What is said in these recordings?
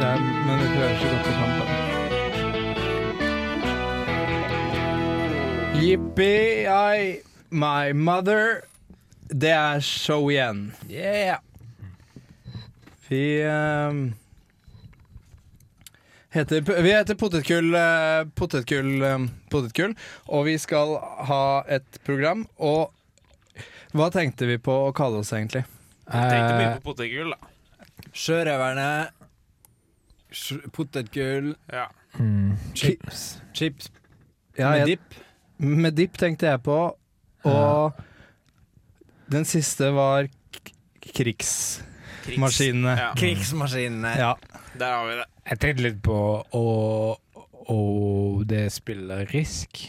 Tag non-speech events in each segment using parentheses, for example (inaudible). Det er, men vi prøver så godt vi kan på det. Jippi, I, my mother. Det er show igjen. Yeah! Vi ehm, heter, vi heter Potetgull, eh, Potetgull, eh, Potetgull, og vi skal ha et program. Og hva tenkte vi på å kalle oss egentlig? Tenkte Eh, mye på potetgull, da. Sjørøverne. sj- Potetgull. Ja. Chips. Chips Ja, med jeg- dipp. Med dipp tenkte jeg på, og den siste var k- krigsmaskinene. Krigs. Ja, Krigsmaskinene. Ja. der har vi det. Jeg tenkte litt på å, å det spiller risk.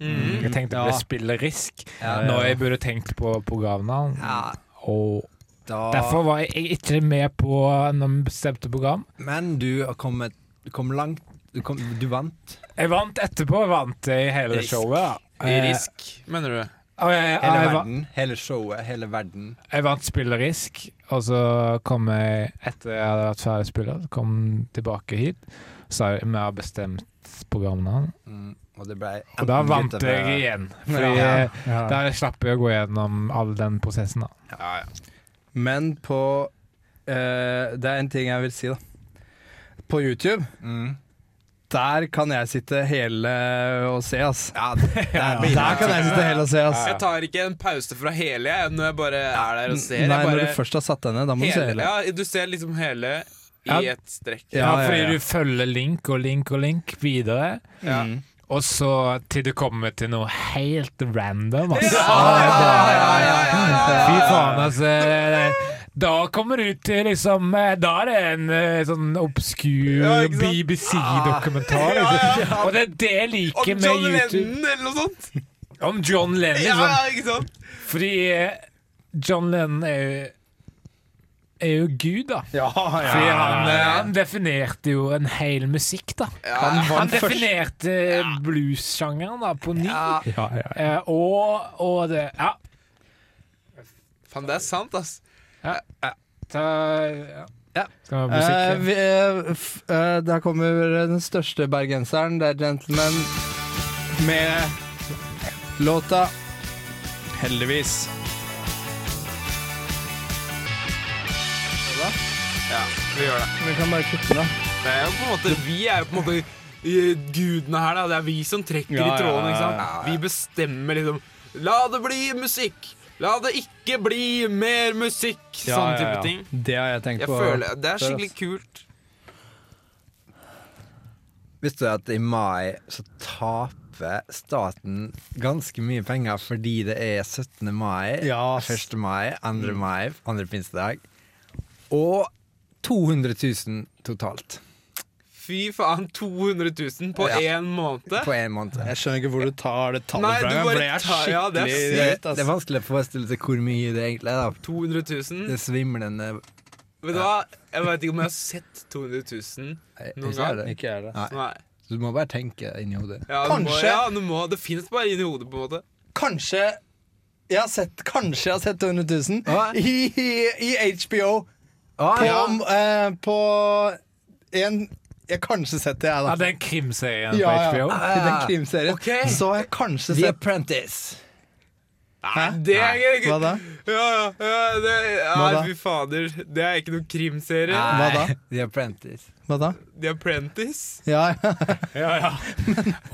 Mhm. Jeg tenkte Ja. på det spiller risk Ja, ja, når ja. jeg burde tenkt på programnavn. Ja, Og da derfor var jeg ikke med på når vi bestemte program. Men du har kommet Du kom langt. Du, kom, du vant. Jeg vant etterpå, jeg vant i hele Risk. showet. da. I Eh, risk, mener du? og jeg, Hele jeg, va- verden. Hele showet. Hele verden. jeg vant spiller risk, og så kom jeg etter jeg hadde vært ferdig spiller, så kom tilbake hit. Så jeg- vi har bestemt programnavn, Mm, og det ble og da enten vant gutter jeg fra- igjen. Fordi Ja. eh, der slapp jeg å gå gjennom all den prosessen. da. Ja, ja. Men på eh, Det er en ting jeg vil si, da. På YouTube, Mm. der kan jeg sitte hele og se, ass. (laughs) Ja, det, der, blir Der det. kan jeg sitte hele og se, ass. Jeg tar ikke en pause fra hele jeg, når jeg bare er der og ser. Nei, Jeg når bare du først har satt deg ned, da må du se hele, hele. ja, Du ser liksom hele Ja. i et strekk. Ja, Ja, ja, fordi ja. du følger link og link og link videre, Ja. Mm. og så til du kommer til noe helt random, altså. Fy faen, altså. Da kommer du til liksom eh, Da er det en eh, sånn obskur Ja, ikke sant? BBC-dokumentar. Liksom. Og det er det jeg liker Om med John YouTube. Lennon eller noe sånt! Om John Lennon. Ja, Liksom. ikke sant? Fordi eh, John Lennon er jo, er jo Gud, da. Fordi han, eh, han definerte jo en hel musikk, da. Ja. Han definerte blues-sjangeren da på ny. Eh, og, og det Ja. Faen, det er sant, ass. Ta, ja. Ja. Skal vi Eh, ha musikk? vi, eh, f, eh, der kommer den største bergenseren, det er Gentleman, med låta 'Heldigvis'. Ja, vi gjør det. Vi kan bare kutte den av. Det er jo på en måte, vi er jo på en måte eh, gudene her, da. Det er vi som trekker Ja, ja, i tråden. ikke sant? ja, ja, ja. Vi bestemmer liksom La det bli musikk! La det ikke bli mer musikk! Sånn type ting. Det har jeg tenkt Jeg på. føler, Det er før, skikkelig ass. kult. Visste du at i mai så taper staten ganske mye penger fordi det er 17. mai, Ja, ass. Mm. 1. mai, 2. mai, 2. pinsedag, og 200 000 totalt Fy faen, 200 000 på Ja. én måned? på én måned? Jeg skjønner ikke hvor du tar det tallet Nei, fra. du men bare det er tar- ja, det er skikkelig Det, drøyt, ass. det er vanskelig å forestille seg hvor mye det egentlig er. da 200 000? Det er svimlende Vet du hva, jeg vet ikke om jeg har sett 200 000. Nei, Noen ikke er det. Ikke er det. Nei. Nei. Så Du må bare tenke inni hodet. Ja, du Må, Kanskje. ja, du må, det fins bare inni hodet, på en måte. Kanskje jeg har sett, kanskje jeg har sett 200 Hva? 000 i, i, i HBO. På, ja. eh, på en Jeg har kanskje sett det, jeg, da. Ja, den krimserien Ja, på HBO. ja. I den krimserien. Ok. Så har jeg kanskje The sett Apprentice. Nei, det er ikke Hva da? Ja, ja, det, Hva ja da? fy fader. Det er ikke noen krimserie. Hva da? Nei, The Apprentice. Hva da? The Apprentice. Ja, ja. Ja, ja.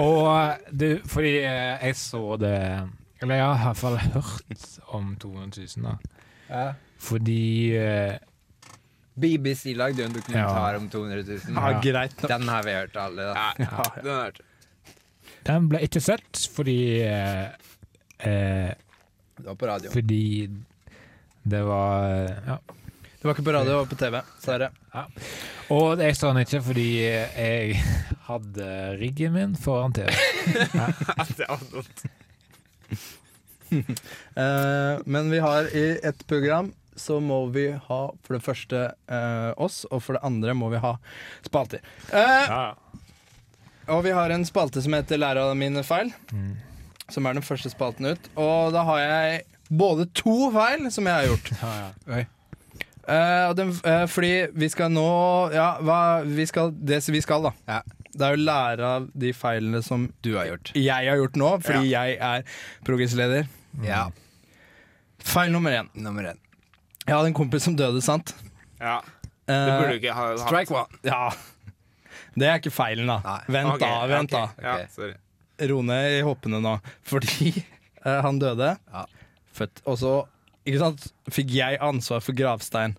Og du, fordi eh, jeg så det Eller jeg har i hvert fall hørt om 200 000, da. Ja. Fordi eh, BBC lagde jo en dokumentar Ja. om 200 000. ja Ah, greit. nok. Den har vi hørt alle. da (laughs) Nei, Ja, ja. den har jeg hørt. den ble ikke sett fordi eh, eh, Det var på radioen. Fordi det var eh, Ja. Det var ikke på radio, det var på TV. Dessverre. Og jeg sa den ikke fordi jeg hadde riggen min foran TV. Det var dumt. Eh, men vi har i et program så må vi ha for det første eh, oss, og for det andre må vi ha spalter. Eh, Og vi har en spalte som heter 'Lære av mine feil', som er den første spalten ut. Og da har jeg både to feil som jeg har gjort. Ja, ja. Oi. Eh, og den, eh, fordi vi skal nå Ja, hva, vi skal, det vi skal, da. Ja. Det er jo lære av de feilene som Du har gjort. jeg har gjort nå, fordi jeg er progress-leder. Ja, Feil nummer én. nummer én. Jeg hadde en kompis som døde, sant? Ja, Eh, det burde du ikke ha hatt. Strike one. Ja. Det er ikke feilen, da. Nei. Vent, Ok, da. vent ok, da Ja, Ok. sorry. Ro ned i hoppene nå. Fordi eh, han døde. Ja. Født. Og så ikke sant, fikk jeg ansvar for gravstein.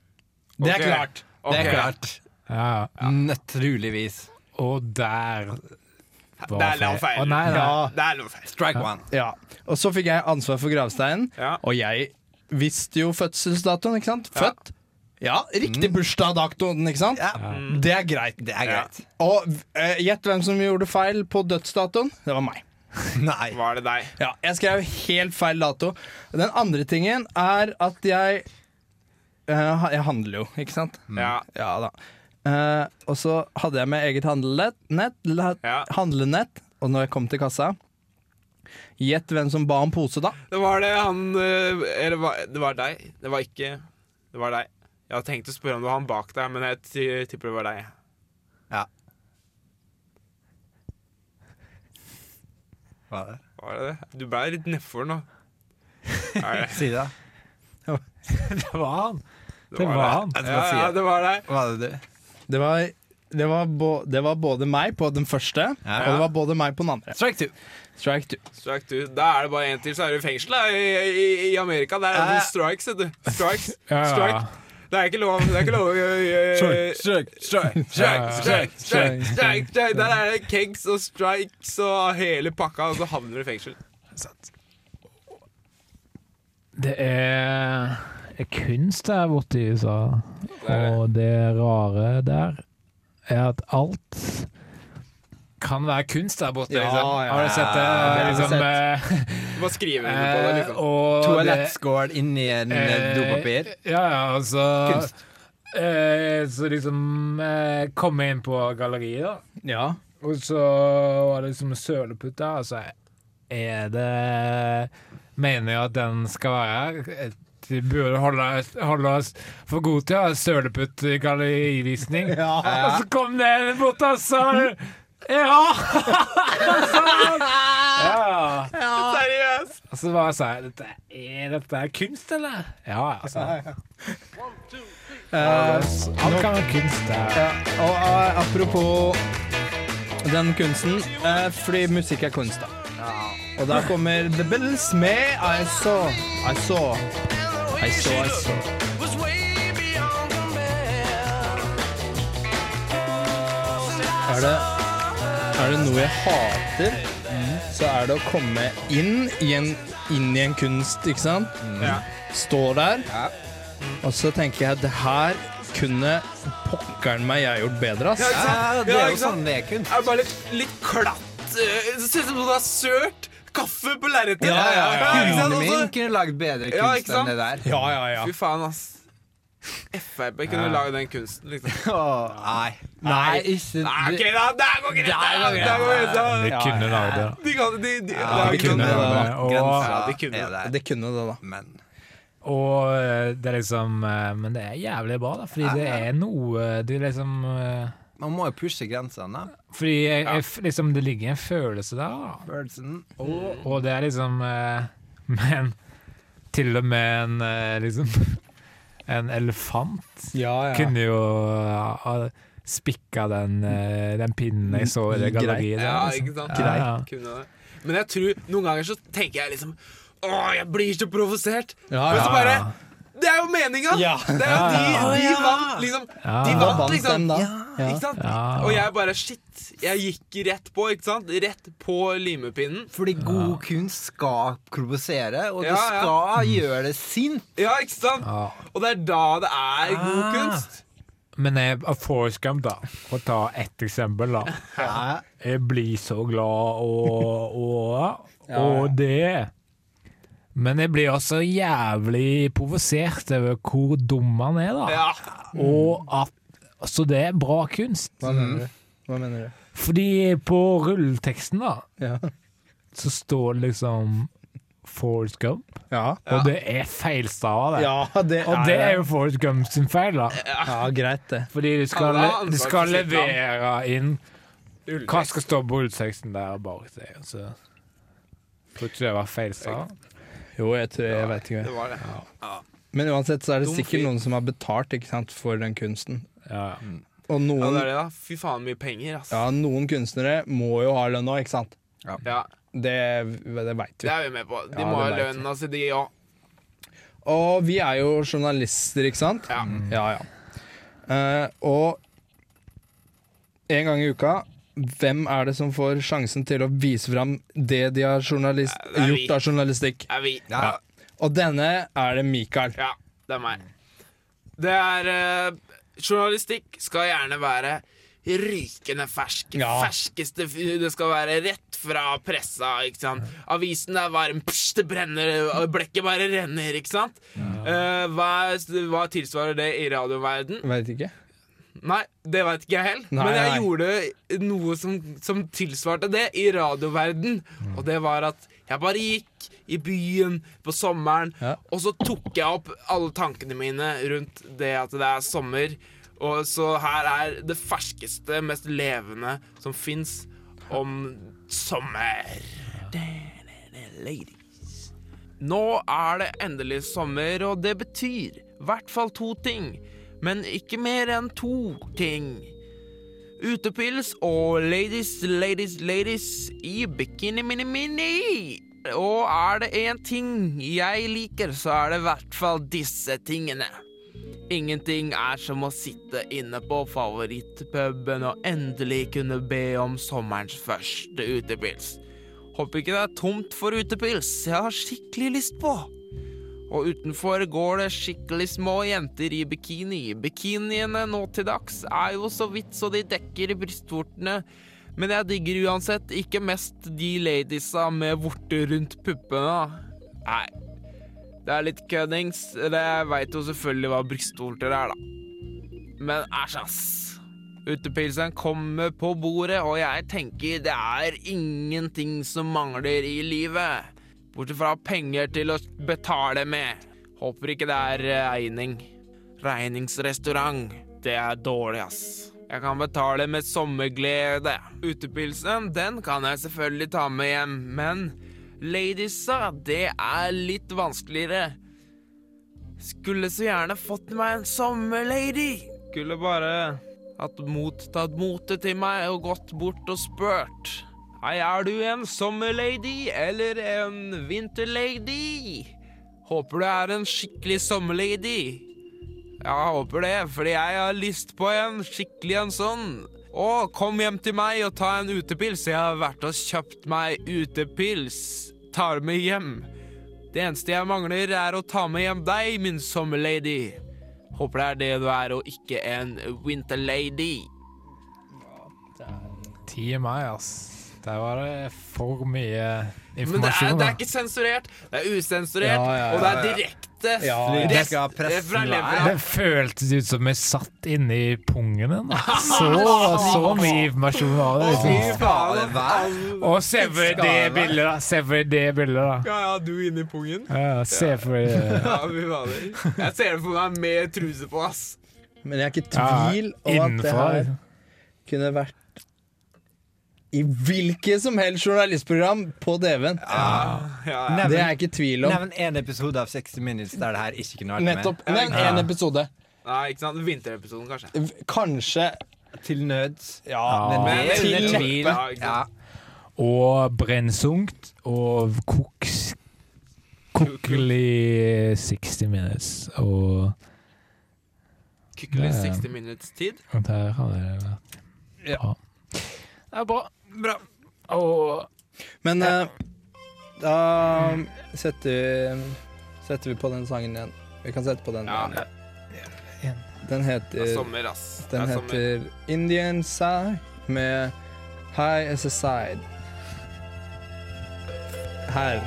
Det er Ok. klart! Det er Ok. klart. Ja. Naturligvis. Og der Det er lov feil. Å, nei, nei. Ja. Det er lov feil. Strike one. Ja. Og så fikk jeg ansvar for gravsteinen, Ja. og jeg visste jo fødselsdatoen, ikke sant? Ja. Født. Ja, riktig bursdagsdatoen, ikke sant? Mm. Ja. Mm. Det er greit. Det er Ja. greit. Og eh, gjett hvem som gjorde feil på dødsdatoen? Det var meg. (laughs) Nei. Var det deg? Ja, jeg skrev helt feil dato. Den andre tingen er at jeg eh, ha- Jeg handler jo, ikke sant? Mm. Ja. Ja da. Eh, og så hadde jeg med eget handlenett, nett, la- Ja. handlenett, og når jeg kom til kassa Gjett hvem som ba om pose, da? Det var det han eh, Eller hva- det var deg. Det var ikke Det var deg. Jeg hadde tenkt å spørre om det var han bak deg, men jeg ti- tipper det var deg. Ja. Hva er det? Var det det? Du ble litt nedfor nå. Er det- Si det. da. Det var han. (laughs) Det var var han. Jeg skal Ja, bare si ja, det. det var deg. Hva er det du? Det var, det var, bo, det var både meg på den første, Ja. og det var både meg på den andre. Strike two. Strike two. Strike du. Da er det bare én til, så er du i fengsel da, i, i, i Amerika. Der er det Ja. sånn strikes, vet du. Strikes. Eh. (laughs) Ja, ja. Strike. Det er ikke lov. Det er ikke lov. Strike, Strike, strike, strike, strike, strike, strike, strike, strike. Der er det kegs og strikes og hele pakka, og så havner du i fengsel. Det er, er kunst der borte i USA, er det. og det rare der er at alt kan være kunst der borte, Ja, liksom. ja, Har du sett det? det har jeg Liksom, Du bare skriver under på det, eh, liksom. og det- Toalettskål inni en eh, dopapir. Ja, ja, altså Kunst. Eh, så liksom eh, kom jeg inn på galleriet, da. Ja. Og så var det liksom søleputter, og så er det Mener jeg at den skal være her? Vi burde holde, holde oss for gode til å ha søleputt i gallerivisning. Og så kom det en bort og sa Ja! (laughs) Så- ja. Seriøst! Og så bare sa jeg dette, Er dette kunst, eller? Ja, ja, altså. Eh, Alt kan være kunst. Det. ja, og eh, apropos den kunsten, eh, fordi musikk er kunst, da. Og der kommer The Bills med I Saw. I Saw. I Saw, I Saw. Er det, er det noe jeg hater, så er det å komme inn i en, inn i en kunst, ikke sant? Ja. Stå der, og så tenker jeg det her kunne pokkeren meg jeg gjort bedre, ass. Ja, Ja, det Ja, er ikke jo sant? sånn det er kunst. Det er bare litt, litt klatt. eh, Det ser ut som du har sølt kaffe på lerretet. Ja, ja, ja. ikke sant? Hundene Og så- mine kunne lagd bedre Ja, ikke kunst sant? enn det der. Ja, ja, ja. Fy faen, ass. Frp kunne lage den kunsten, liksom. Åh, nei. Nei, ikke Nei, ok, du- da, der går greit! Der går greit! Vi Ja, kunne lagd det. De kan de, de, Ja, det er de ikke kunne noe- det. Og Ja, Grensa de kunne er der. Det kunne det, da. Men Og eh, det er liksom eh, Men det er jævlig bra, da, fordi det er noe Det er liksom eh, man må jo pushe grensene. Fordi jeg, jeg, f- liksom, det ligger en følelse der, da. Birdsen. Og, og det er liksom eh, (laughs) Men til og med en eh, liksom (laughs) En elefant Ja, kunne jo eh, ha spikka den, eh, den pinnen jeg så i det Greit. galleriet der. Ja, liksom. ikke sant? Ja, ja. Kunne det. Men jeg tror, noen ganger så tenker jeg liksom Åh, jeg blir så provosert! Ja, Men ja, så bare Det er jo meninga! Ja. Det er jo de, Ja, de vant, liksom. Ja. De Da vant, vant liksom. dem, da. Ja. Ikke sant? Ja. Og jeg bare Shit. Jeg gikk rett på, ikke sant? Rett på limepinnen. Fordi god kunst skal provosere, og Ja, du ja. skal gjøre det sint. Ja, ikke sant? Ja. Og det er da det er god Ah. kunst. Men jeg, Forrest Gump, da, for å ta ett eksempel, da. Jeg blir så glad og, og, og det. Men jeg blir også jævlig provosert over hvor dum han er, da. Ja. Og at Så det er bra kunst. Hva mener du? Hva mener du? Fordi på rulleteksten, da, Ja. så står det liksom Forrest Gump, Ja. og det er feilstava, det. Ja, det Og det er jo Forrest Gump sin feil, da. Ja, greit, det. Fordi de skal, Alle har ansvar de skal for sitt levere inn Ulltekst. hva skal stå på ullteksten der bak det. Så. Tror ikke det var feilstava. Jo, jeg tror jeg vet ikke. Det var det. Men uansett så er det Dum sikkert fyr. noen som har betalt ikke sant, for den kunsten. Ja. Og Ja, det noen, er det, da. Fy faen mye penger, ass. ja, noen kunstnere må jo ha lønn òg, ikke sant? Ja, Det, det veit vi. det er vi med på. De Ja, må ha det vet lønna si, de òg. Og vi er jo journalister, ikke sant? Mm. Ja. Ja, ja. Eh, og en gang i uka hvem er det som får sjansen til å vise fram det de har journalist, Det er vi. gjort av journalistikk? Er vi. Ja. Og denne er det Mikael. Ja, det er meg. Det er eh, Journalistikk skal gjerne være rykende fersk. Ja. Ferskeste f- Det skal være rett fra pressa. Ikke sant? Avisen er varm, psj, det brenner, og blekket bare renner, ikke sant? Eh, hva, er- hva tilsvarer det i radioverden? Veit ikke. Nei, det veit ikke jeg heller. Nei, Men jeg nei. gjorde noe som, som tilsvarte det i radioverden. Mm. Og det var at jeg bare gikk i byen på sommeren, Ja. og så tok jeg opp alle tankene mine rundt det at det er sommer. Og så her er det ferskeste, mest levende som fins om sommer. Lady. Nå er det endelig sommer, og det betyr i hvert fall to ting. Men ikke mer enn to ting. Utepils og ladies, ladies, ladies i bikini mini mini. Og er det én ting jeg liker, så er det i hvert fall disse tingene. Ingenting er som å sitte inne på favorittpuben og endelig kunne be om sommerens første utepils. Håper ikke det er tomt for utepils. Jeg har skikkelig lyst på. Og utenfor går det skikkelig små jenter i bikini. Bikiniene nå til dags er jo så vidt så de dekker brystvortene. Men jeg digger uansett ikke mest de ladiesa med vorter rundt puppene. Nei, det er litt køddings. Det jeg veit jo selvfølgelig hva brystvorter er, da. Men æsj, ass. Utepilsen kommer på bordet, og jeg tenker det er ingenting som mangler i livet. Bortsett fra penger til å betale med. Håper ikke det er regning. Regningsrestaurant. Det er dårlig, ass. Jeg kan betale med sommerglede. Utepilsen, den kan jeg selvfølgelig ta med hjem, men ladiesa, det er litt vanskeligere. Skulle så gjerne fått meg en sommerlady. Skulle bare hatt mot, tatt motet til meg og gått bort og spurt. Hei, er du en sommerlady eller en vinterlady? Håper du er en skikkelig sommerlady. Ja, håper det, fordi jeg har lyst på en skikkelig en sånn. Å, kom hjem til meg og ta en utepils. Jeg har vært og kjøpt meg utepils. Tar med hjem. Det eneste jeg mangler, er å ta med hjem deg, min sommerlady. Håper det er det du er, og ikke en winterlady. Ti i mai, ass. Der var det for mye Men det er, informasjon. det er ikke sensurert. Det er usensurert, Ja, ja, ja, og det er direkte. Ja, ja. rett Det skal pressen fra levra. være. da. det føltes ut som jeg satt inni pungen din. da. Så, så mye informasjon var det. Fy Liksom. faen. det være? Og se for deg det bildet, da. Se for deg det bildet, da. Ja, ja, du inni pungen. Ja, se for (laughs) deg Ja, fy fader. Jeg ser det for meg med truse på, ass. Men jeg er ikke i Ja, tvil om at det innenfor. her kunne vært i hvilket som helst journalistprogram på DV-en. Ja, ja. Det Nevn, er jeg ikke i tvil om. nevn en episode av 60 Minutes der det her ikke kunne vært Nettopp. Nevn én episode. Nei, ikke sant. Vinterepisoden, kanskje. V- Kanskje med. Til nøds. Ja. Men, Ja. Men til under neppe. tvil. Ja. Ja, ikke sant. Og brennsunkt og koks Kokelig 60 minutes og Kukkeli Det- 60 minutes tid. og Der hadde det vært Ja. Det er bra. Bra. Og Men eh, da setter, setter vi på den sangen igjen. Vi kan sette på den. Ja. igjen. Den Det er heter, sommer, ass. Det Eh, den er sommer. heter Indian Side med High as a Side. Her.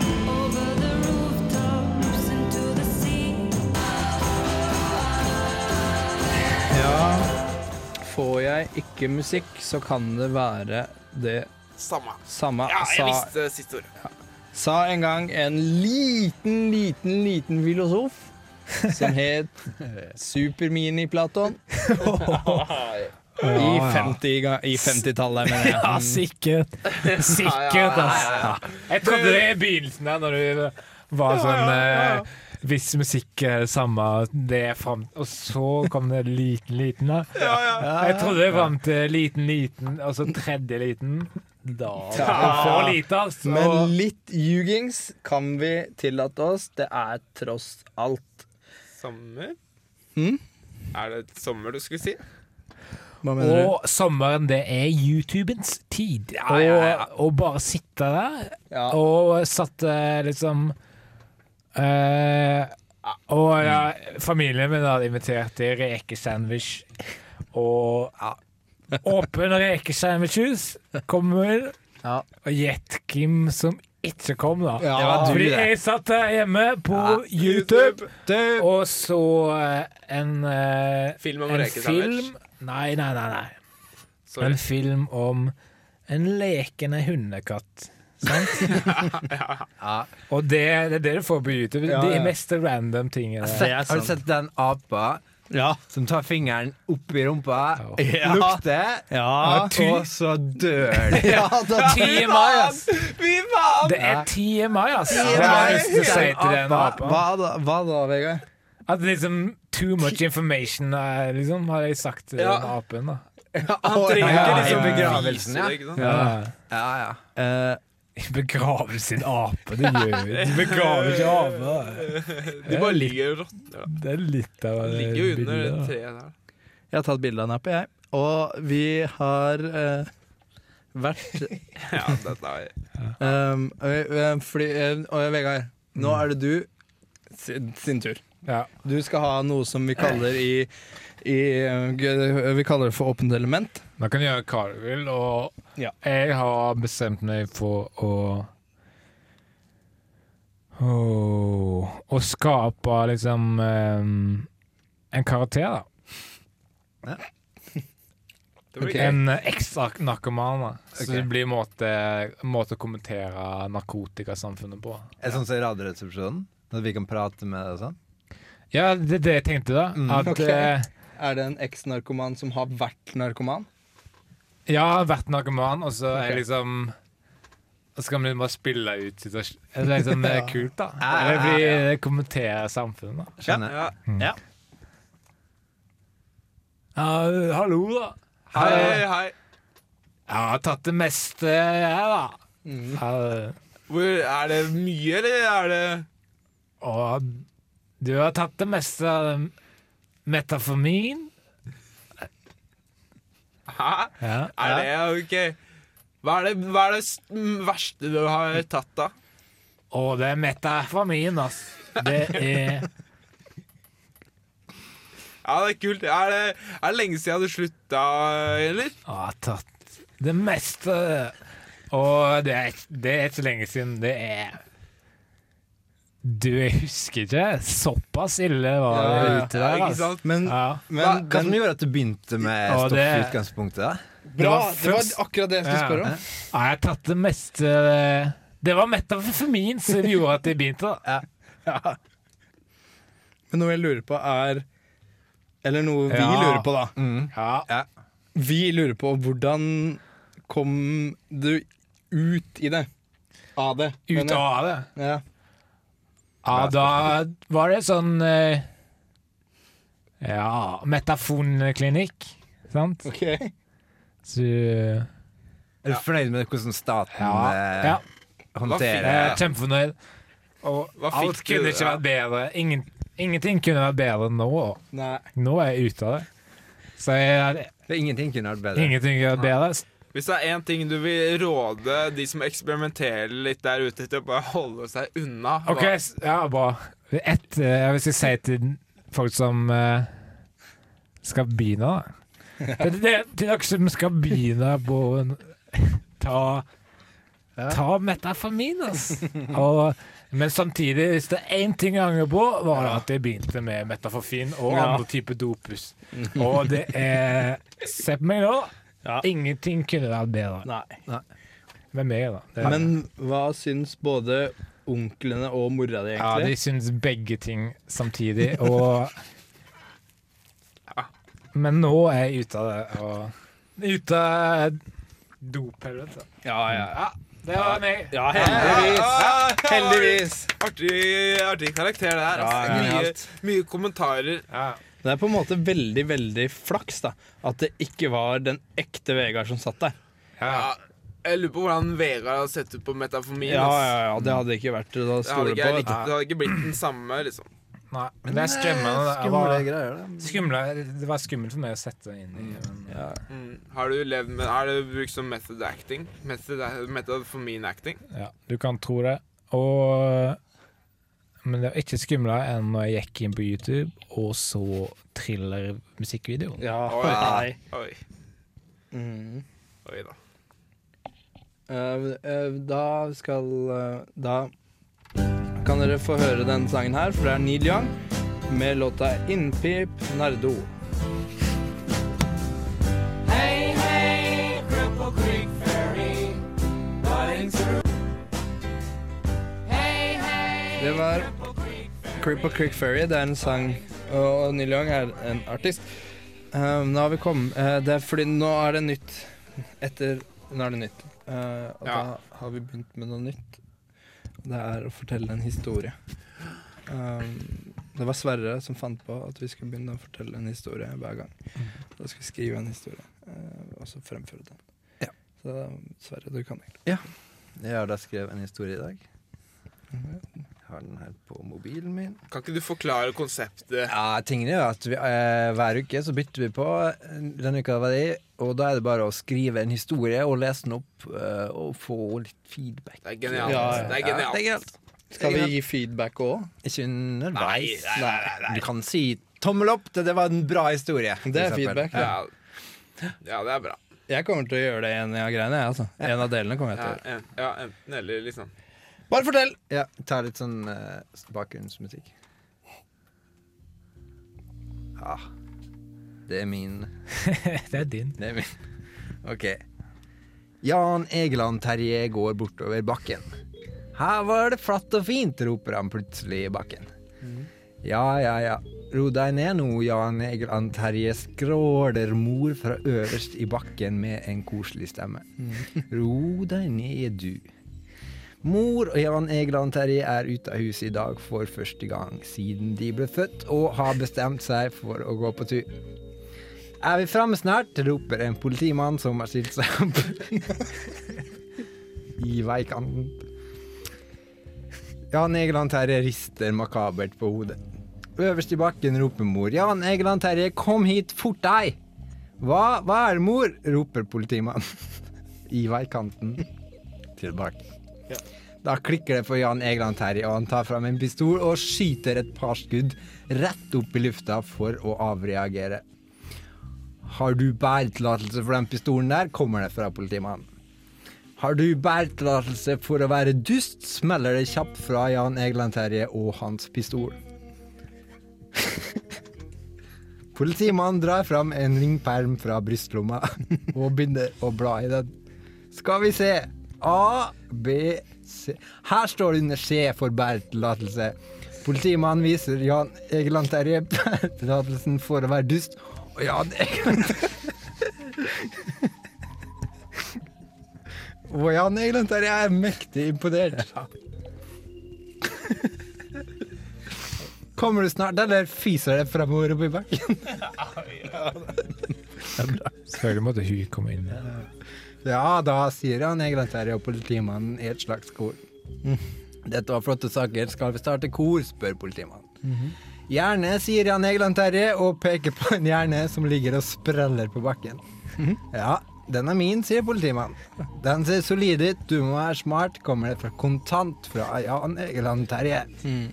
Over the rooftops into the sea. Ja. Får jeg ikke musikk, så kan det være det Samme. samme, Ja, jeg sa visste siste ord. sa en gang en liten, liten, liten filosof som het (laughs) Supermini-Platon. I 50 ga- i 50-tallet, mener jeg. (laughs) Ja, sikkert. Sikkert, ass. Jeg trodde det i begynnelsen der, når du var sånn eh, Hvis musikk er det samme, det er fram Og så kom det liten, liten der. Jeg trodde det var fram til liten, liten, og så tredje liten. Da For lite, ass. Men Og litt ljugings kan vi tillate oss. Det er tross alt. Sommer? Mm? Er det sommer du skulle si? Hva og sommeren, det er YouTubens tid. Ja, ja, ja. Og, og bare sitte der Ja. Og satt eh, liksom eh, Og ja, familien min hadde invitert til rekesandwich. Og ja, åpen rekesandwichhus. Kommer. Ja. Og gjett hvem som ikke kom, da. Ja, det var du, Fordi det. jeg satt der hjemme på YouTube og så eh, en, eh, Film om en rekesandwich. film. Nei, nei, nei. nei. Sorry. En film om en lekende hundekatt. Sant? (laughs) Og det, det er det du får på YouTube. Ja, De ja. Altså, mest random tingene. Det er sant. Har du sett den apa Ja. som tar fingeren opp i rumpa, Ja. lukter, Ja. og så dør (laughs) de? ja da, Ti i mai, ass! (laughs) Fy faen! Det er ti i mai, ass! Det har mai. jeg lyst til å si til den hva, apen. hva da, hva da, Vegard? At liksom too much information, eh, liksom, har jeg sagt til Ja. den apen. da. Han trenger ja, liksom ja, ja. begravelsen, ja. Ja. Ikke sant? Ja. Ja, ja. Eh, Begraver sin ape, det gjør vi. Du begraver ikke aper. Eh, De bare ligger og rotter. da. Det er litt av De et Ligger jo under bilde, da. treet der. jeg har tatt bilde av nappet, jeg. Og vi har eh, vært Ja, dette er um, eh, eh, Fordi eh, og Vegard, nå er det du sin, sin tur. Ja. Du skal ha noe som vi kaller i, i eh, g- Vi kaller det for åpent element. Da kan du gjøre hva du vil, og Ja. jeg har bestemt meg for å Åh, Å skape liksom em, en karakter, da. (laughs) Det blir Ok. gøy. En ekstra narkoman. da. Så det blir en måte, måte å kommentere narkotikasamfunnet på. Er det sånn som i Radioresepsjonen? At vi kan prate med deg og sånn? Ja, det er det jeg tenkte, da. At ok. eh, Er det en eks-narkoman som har vært narkoman? Ja, jeg har vært narkoman, og så Ok. er jeg liksom Og så kan vi bare spille ut situasjonen. Det er liksom eh, kult, da. Det blir det kommenterer samfunnet, da. Skjønner? Ja. Ja, hallo, da. Hei, hei, hei. Jeg har tatt det meste, jeg, da. Ja, Hvor, er det mye, eller er det og du har tatt det meste av metaformin. Hæ? Ja. Er det OK? Hva er det, hva er det s- m, verste du har tatt, da? Og det er metaformin, ass. Det er Ja, det er kult. Er det, er det lenge siden du slutta, eller? Jeg har tatt det meste. Og det er, det er ikke så lenge siden. Det er Du, jeg husker ikke. Såpass ille var det Ja, ja. ute der. ikke ass. sant? Men, Ja. men Hva, hva som den- gjorde at du begynte med Ja, stoff i det- utgangspunktet? da? bra! var Det var først- akkurat det jeg skulle Ja. spørre om. Ja, jeg har tatt det meste Det var metaformin som gjorde at jeg begynte. da Men noe jeg lurer på er Eller noe vi Ja. lurer på, da. ja. Vi lurer på hvordan kom du ut i det? Av det. Ut av det. Ja. Ja, da var det sånn eh, Ja, metafonklinikk, sant? Ok. Så Ja. Er du fornøyd med hvordan staten eh, ja. håndterer Jeg det? er kjempefornøyd. Eh, Og Hva alt fikk du, kunne ikke ja? vært bedre. Ingen, ingenting kunne vært bedre enn nå. Nei. Nå er jeg ute av det. Så jeg, For ingenting kunne vært bedre. ingenting kunne vært bedre. Hvis det er én ting du vil råde de som eksperimenterer litt der ute, til å bare holde seg unna hva- OK, s- ja, bra. Et, eh, jeg vil si til folk som eh, skal begynne, (laughs) da. Det, det, til dere som skal begynne på en- Ta Ta metaformin, ass. Og, men samtidig, hvis det er én ting jeg angrer på, var det at jeg begynte med metaforfin Ja. og Mm. andre typer dopus. Og det er Se på meg nå. Ingenting kunne vært bedre. Nei. med meg, da. Det, Men hva syns både onklene og mora di, ja, de egentlig? syns begge ting samtidig, og Men nå er jeg ute av det, og Ute av dophelvete. Ja, ja, ja. Det var meg. ja heldigvis. Heldigvis. Artig, artig karakter, det her. ass. Ja, ja, ja. Mye, mye kommentarer. Ja. Det er på en måte veldig, veldig flaks da at det ikke var den ekte Vegard som satt der. Ja, jeg lurer på hvordan Vegard har sett ut på metaformin. Ja, ass. ja, ja, Det hadde ikke vært å Det hadde, stole ikke, på. vet det du. hadde ikke blitt den samme, liksom. Nei, men eh, det er skremmende. da. Jeg Skumle var- greier, det. Skumle, det var skummelt for meg å sette inn i. Men, Mm. Har du levd med Har du brukt som method acting? Method, metaformin acting? ja, du kan tro det. Og, men det var ikke skumlere enn når jeg gikk inn på YouTube og så thriller-musikkvideoen. (laughs) Ja, Oi. nei. Oi. Mm. Oi da. Eh, eh, da skal eh, Da kan dere få høre denne sangen her, for det er Neil Young med låta 'Innpip Nardo'. Det var Cripple Creek Ferry. Det er en sang, og Neil Young er en artist. Eh, nå har vi kommet eh, Det er fordi nå er det nytt etter Nå er det nytt. Eh, og Ja. da har vi begynt med noe nytt. Det er å fortelle en historie. Um, det var Sverre som fant på at vi skulle begynne å fortelle en historie hver gang. Mm. Da skal vi skrive en historie, eh, og så fremføre den. Ja. Så um, Sverre, du kan egentlig. Jeg har da skrevet en historie i dag. Jeg har den her på mobilen min. Kan ikke du forklare konseptet? Ja, tingene er jo at vi, eh, Hver uke så bytter vi på. eh, Denne uka var det i, og da er det bare å skrive en historie og lese den opp eh, og få litt feedback. Det er genialt. Ja, ja. Det er Ja, det genialt. er genialt. Skal vi gi feedback òg? Ikke underveis. Nei, nei, nei, nei. Du kan si tommel opp, det, det var en bra historie. for Det er eksempel. feedback. Ja. ja, det er bra. Jeg kommer til å gjøre det en av greiene. Jeg, altså. En av delene kommer jeg til å Ja, gjøre. en, ja, enten eller, liksom. Bare fortell! Ja, ta litt sånn eh, bakgrunnsmusikk. Ja. Ah, Det er min Det er din. (laughs) Det er min. Ok. Jan Egeland Terje går bortover bakken. Her var det flatt og fint, roper han plutselig i bakken. Mm. Ja, ja, ja. Ro deg ned nå, Jan Egeland Terje, skråler mor fra øverst i bakken med en koselig stemme. Ro deg ned, du. Mor og Jan Egeland Terje er ute av huset i dag for første gang siden de ble født, og har bestemt seg for å gå på tur. Er vi framme snart? roper en politimann som har stilt seg opp i veikanten. Jan Egeland Terje rister makabert på hodet. Øverst i bakken roper mor. Jan Egeland Terje, kom hit, fort deg! Hva, hva er det, mor? roper politimannen (laughs) i veikanten tilbake. Da klikker det for Jan Egeland Terje, og han tar fram en pistol og skyter et par skudd rett opp i lufta for å avreagere. Har du bæretillatelse for den pistolen der? kommer det fra politimannen. Har du bæretillatelse for å være dust? smeller det kjapt fra Jan Egeland Terje og hans pistol. (laughs) Politimannen drar fram en ringperm fra brystlomma (laughs) og begynner å bla i den. Skal vi se. A, B, C Her står det under C for bæretillatelse. Politimannen viser Jan Egeland Terje (laughs) bæretillatelsen for å være dust, og Jan Egeland Og Jan Egeland Terje er mektig imponert. Kommer du snart, eller fiser det framover oppi bakken? Selvfølgelig måtte hun komme inn. Ja da, sier han Egeland Terje og politimannen i et slags kor. Mm. Dette var flotte saker, skal vi starte kor? spør politimannen. Hjerne, sier Jan Egeland Terje og peker på en hjerne som ligger og spreller på bakken. Ja, den er min, sier politimannen. Den ser solid ut, du må være smart, kommer det fra kontant fra Jan Egeland Terje. Mm.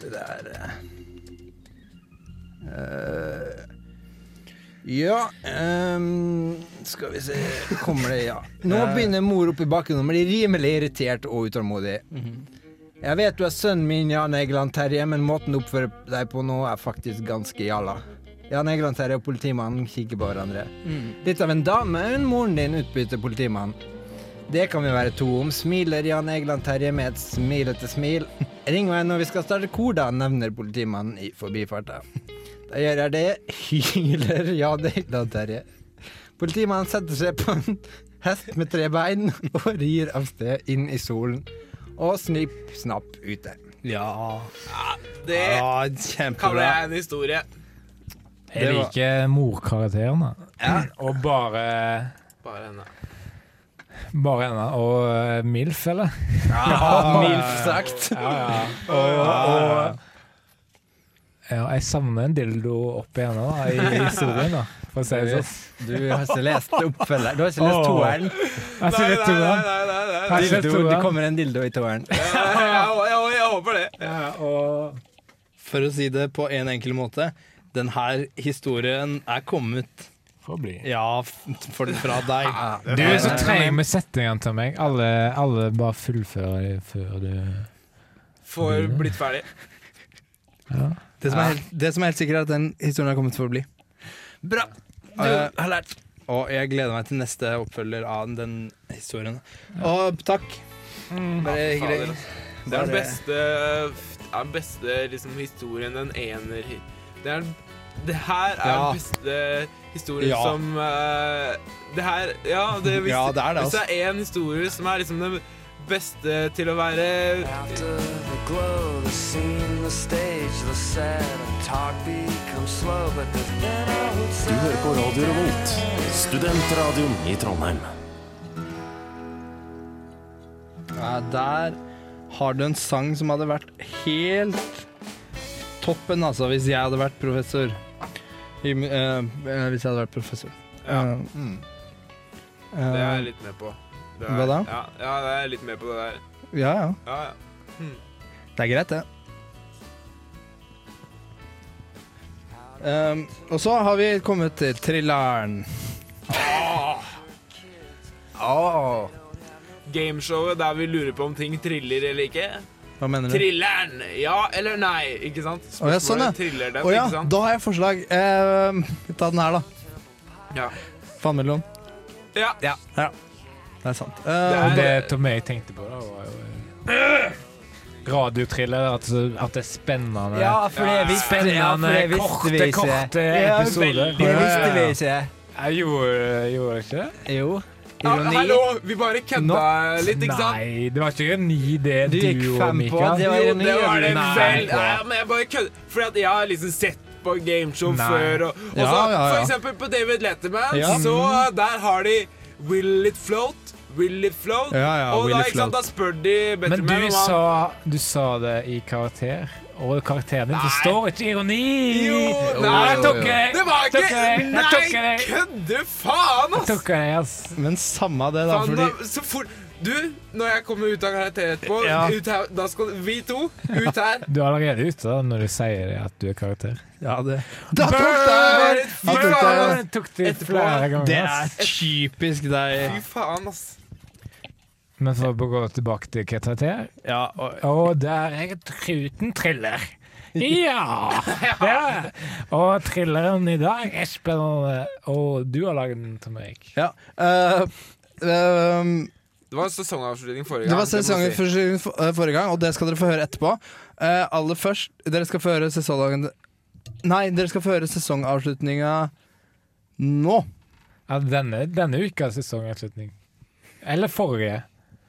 Det der eh. Eh, ja ehm, Skal vi se Kommer det, ja. Nå begynner mor oppe i bakken og blir rimelig irritert og utålmodig. Jeg vet du er sønnen min, Jan Egeland Terje, men måten du oppfører deg på nå, er faktisk ganske jalla. Jan Egeland Terje og politimannen kikker på hverandre. Litt av en dame er hun moren din, utbytter politimannen. Det kan vi være to om. Smiler Jan Egeland Terje med et smilete smil. Ring meg når vi skal starte kor, da, nevner politimannen i forbifarta. Da gjør jeg det, hyler Jan Egeland Terje. Politimannen setter seg på en hest med tre bein og rir av sted inn i solen. Og snipp snapp ute. Ja, Det ja kaller kjempebra. jeg en historie. Jeg Det var- liker morkarakteren, da. (clears throat) Og bare Bare henne. Bare henne. Og eh, MILF, eller? (laughs) Mildt sagt. Ja, ja. Og, og ja, jeg savner en dildo oppi henne da, i i historien, da, for å si det sånn. Du har ikke lest oppfølgeren. Du har ikke lest toeren. Jeg ser litt toeren. nei, nei, nei, nei. Jeg ser Dildo, det toeren. kommer en dildo i toeren. Jeg, jeg, jeg, jeg håper det. Ja, og For å si det på en enkel måte. Den her historien er kommet får bli. ah. ja, f- for, fra deg. Du er så treig med setningene til meg. Alle, alle bare fullfører det før du Får blitt ferdig. Det som, er helt, det som er helt sikkert, er at den historien er kommet for å bli. Bra. Du Eh, har lært. Og jeg gleder meg til neste oppfølger av den historien. Og takk. Bare Fader, hyggelig. altså. Det er den Bare- beste, det er den beste liksom, historien den ener Det, er, det her er Ja. den beste historien Ja. som eh, Det her Ja, det, hvis, Ja, det altså. er det, hvis det er én historie som er liksom den beste til å være After the glow, the scene, the stage, the set, and talk becomes slow, but the thin old Du hører på Radio Revolt, studentradioen i Trondheim. Ja, der har du en sang som hadde vært helt toppen, altså, hvis jeg hadde vært professor. I, eh, eh, hvis jeg hadde vært professor. Ja, Eh, eh, det er jeg litt med på. Det er, Hva da? Ja, ja, det er jeg litt med på det der. ja, ja. Ja, ja. Det er greit, det. Ehm, og så har vi kommet til thrilleren. Gameshowet der vi lurer på om ting triller eller ikke. Hva mener du? Trilleren! Ja eller nei, ikke sant? Å, ja, sånn, ja. triller den, Å ja, ikke sant? da har jeg forslag. Ehm, ta den her, da. Ja. Vannmelon. Ja. Det er sant. er- Ehm, Det Tom jeg tenkte på, da, var jo eh, (clears throat) Radiotriller, at, at det er spennende. Ja, for det visste, ja, for Spennende, det visste vi korte, ikke. korte Ja, episoder. Det visste vi ikke. Jeg gjorde, gjorde jeg ikke det? Jo. Ja, Ironi. hallo, vi bare kødda litt, ikke sant? Nei, det var ikke ironi, det Du gikk og fem på Mikael. at det var Jo, ironi. det var det Nei. vel. Nei, men jeg bare kødder. Fordi at jeg har liksom sett på gameshow Nei. før. Og, og Ja, så, ja, ja. For eksempel på David Letterman, Ja. Mm. så der har de Will it float? Will it float? Ja, ja, og will da, it ikke sant, da float. spør de Men Betterman du om han sa, du sa det i karakter, og karakteren din Nei. forstår ikke ironi! Jo, nei. jeg tok deg! Det var ikke Jeg tok deg! Nei, Jeg kødder faen, ass! tok deg, ass. men samme det, da. Faen, Fordi da, så fort Du, når jeg kommer ut av karakter etterpå, Ja. ut her, da skal vi to ut (laughs) her. Du er allerede ute da, når du sier det at du er karakter. Ja, det Da tok det! Fy tok deg. faen, Jeg tok det Etterpå. flere Det ganger, er ass. typisk Fy deg. faen, ass. Men for å gå tilbake til karakter, Ja, og, Og der er truten triller. Ja! Det er. Og trilleren i dag er spennende. Og du har lagd den til meg. ja. eh, ehm, Det var sesongavslutning det forrige gang. var må jeg si. sesongen for, eh, forrige gang, og det skal dere få høre etterpå. Eh, aller først, dere skal få høre sesongen Nei, dere skal få høre sesongavslutninga nå. Ja, denne, denne ukas sesongavslutning. Eller forrige.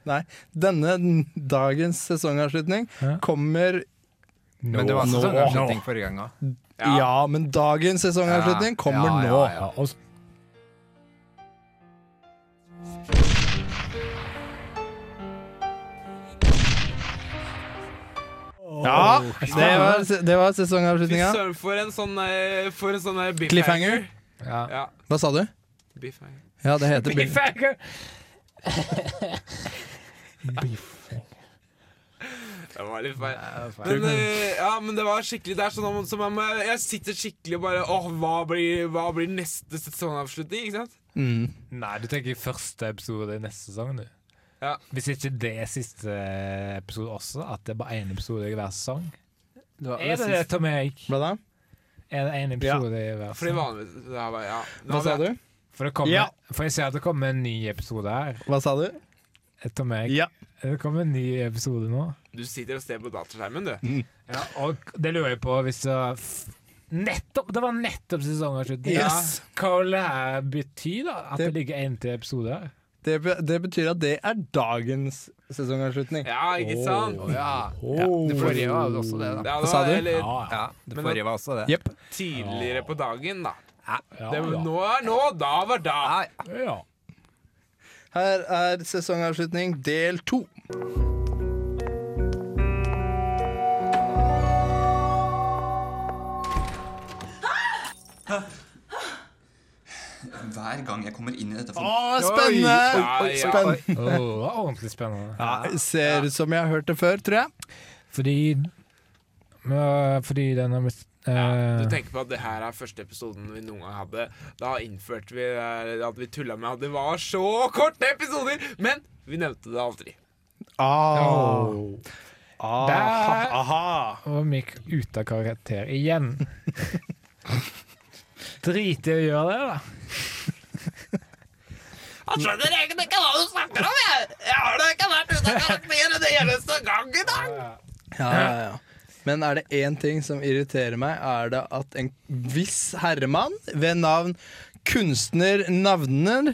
Nei. Denne dagens sesongavslutning Ja. kommer Men det var Nå. sånn avslutning forrige gang òg. Ja, men dagens sesongavslutning kommer Ja, ja, nå. Ja, og Ja, det var, det var Fy sesongavslutninga. søren, for en sånn, eh, for en sånn eh, biffhanger. Cliffhanger. ja. Ja, Hva sa du? biffhanger. Ja, det heter (laughs) Bill. Cliffhanger! Det var litt feil. Men, eh, ja, men det var skikkelig Det er sånn om- som om eh, jeg sitter skikkelig og bare Åh, hva blir, hva blir neste sesongavslutning? Ikke sant? Mm. Nei, du tenker første episode i neste sesong, du. Ja. Hvis ikke det er siste episode også, at det er bare én episode i hver sesong. Er det det, Tom Erik? Hva da? Er det én episode i hver Fordi sesong? vanligvis det er bare, ja. Nå Hva sa har vi- du? For, det kommer, Ja. for jeg ser at det kommer en ny episode her. Hva sa du? etter meg. Ja. Det kommer en ny episode nå. Du sitter og ser på dataskjermen, du. Mm. Ja, og det lurer jeg på hvis jeg f- Nettopp! Det var nettopp sesongavslutning. Yes. Ja. Hva vil det her bety, da? At det, Det- ligger en til episode her? Det, be- det betyr at det er dagens sesongavslutning. Ja, ikke sant? Ja. Det forrige var også det, da. Ja, Hva det sa var, du? eller Ja, det forrige var også det. Jepp. tidligere på dagen, da. Ja, Det, da. nå er nå, da var da. Ja, ja. Her er sesongavslutning del to. Hver gang jeg kommer inn i dette Å, form- spennende! Oi, oi, Spenn. Åh, det var ordentlig spennende. Ja, ser ut som jeg har hørt det før, tror jeg. Fordi men, Fordi den har blitt Du eh, tenker på at det her er første episoden vi noen gang hadde. Da innførte vi eh, at vi tulla med at det var så korte episoder! Men vi nevnte det aldri. Au. Der Aha. var Mick ute av karakter igjen. Drit i å gjøre det, da. Jeg skjønner egentlig ikke hva du snakker om, jeg! Jeg har da ikke vært ute av karakter en eneste gang i dag! Ja, ja, ja. Men er det én ting som irriterer meg, er det at en viss herremann ved navn Kunstner Navner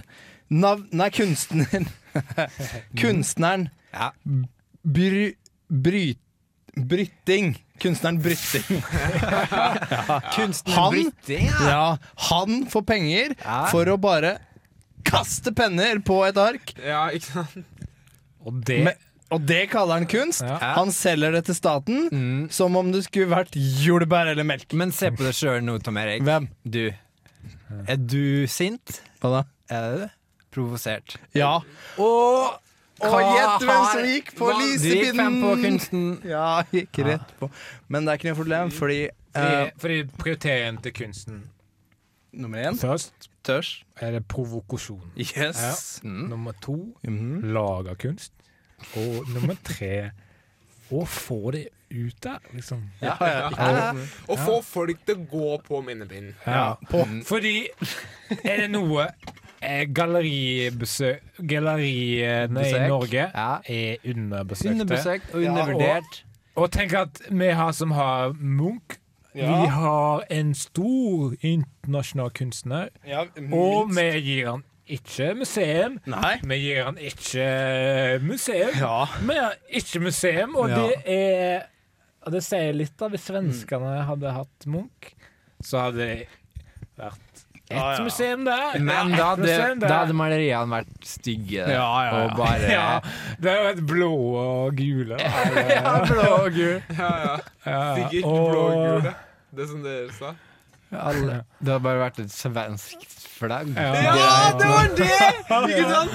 nav, Nei, kunstner (laughs) Kunstneren Ja. bry, bry, Brytting. Kunstneren (laughs) Brytting. Kunstner Han, ja, han får penger Ja. for å bare kaste penner på et ark. Ja, ikke sant? Og det Men, og det kaller han kunst. Ja. Han selger det til staten som om det skulle vært jordbær eller melk. Mm. Men se på deg sjøl nå, Tom Erik. Hvem? Du. Er du sint? Hva da? Er det det? Provosert. Ja. Og Og gjett hvem som gikk på Du gikk fem på lisepinnen! kunsten. Ja, gikk rett på. Men det er ikke noe problem, fordi eh, fordi, fordi prioriteringen til kunsten Nummer én Først tørs. er det provokasjon. Yes. Mm. Mm-hmm. Nummer to lage kunst. Og nummer tre å få det ut der, liksom. Ja, ja, ja. Å få folk til å gå på minnepinnen. Ja. Mm. Fordi Er det noe eh, galleribesøk Galleriene Besøk. i Norge Ja. er underbesøkte. Underbesøkt og undervurdert. Og tenk at vi har som har Munch Vi har en stor internasjonal kunstner, Ja, og minst. vi gir han ikke museum. Nei. Vi gir han ikke eh, museum. Ja. Vi gir han ikke museum, og Ja. det er og Det sier litt, da. Hvis svenskene hadde hatt Munch, så hadde det vært ett Ja, ja. museum der. Men ett da hadde, museum der. da hadde maleriene vært stygge da. ja, ja, ja. og bare (laughs) ja, Det hadde vært blå og gule. (laughs) Ja, blå og gul. Ja, ja. Sikkert og- blågule. Det som dere sa. Alle. Det hadde bare vært et svensk flagg. Ja. Ja, det var det! Ikke sant?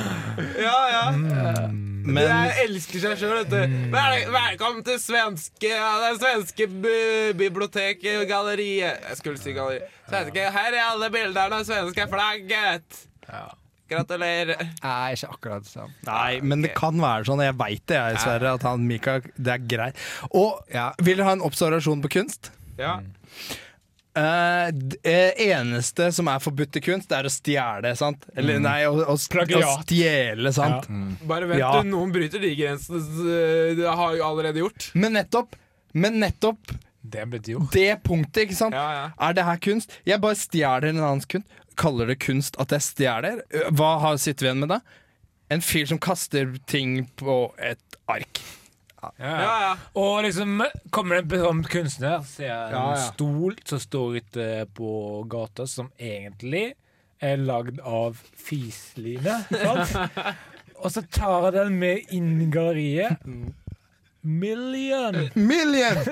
Ja, ja. Mm. Men Jeg elsker seg sjøl, vet du. Vel, velkommen til svenske ja, Det er svenske bi- bibliotek og galleriet. Jeg skulle si galleri. Svenske, her er alle bildene av svenske flagget. Gratulerer. Jeg er ikke akkurat sånn. det samme. Nei, men det kan være sånn. Jeg veit det, jeg, Sverre. At han Mikael Det er greit. Og Ja. vil du ha en observasjon på kunst? Ja. Eh, det eneste som er forbudt i kunst, det er å stjele, sant? Eller nei, å, å, st- å Plagiat. stjele, sant? Bare vent, Mm. Ja. Mm. du. Noen bryter de grensene s- det har jo allerede gjort. Men nettopp men nettopp Det blir jo det punktet, ikke sant? Ja, ja. Er det her kunst? Jeg bare stjeler en annens kunst. Kaller det kunst at jeg stjeler? Eh, Hva har sitter vi igjen med da? En fyr som kaster ting på et ark. Ja, ja. Og liksom kommer det en berømt kunstner, ser en Ja, ja. stol som står ute på gata, som egentlig er lagd av fisline. (laughs) Sant? Og så tar jeg den med inn i galleriet. Million! Million! (laughs)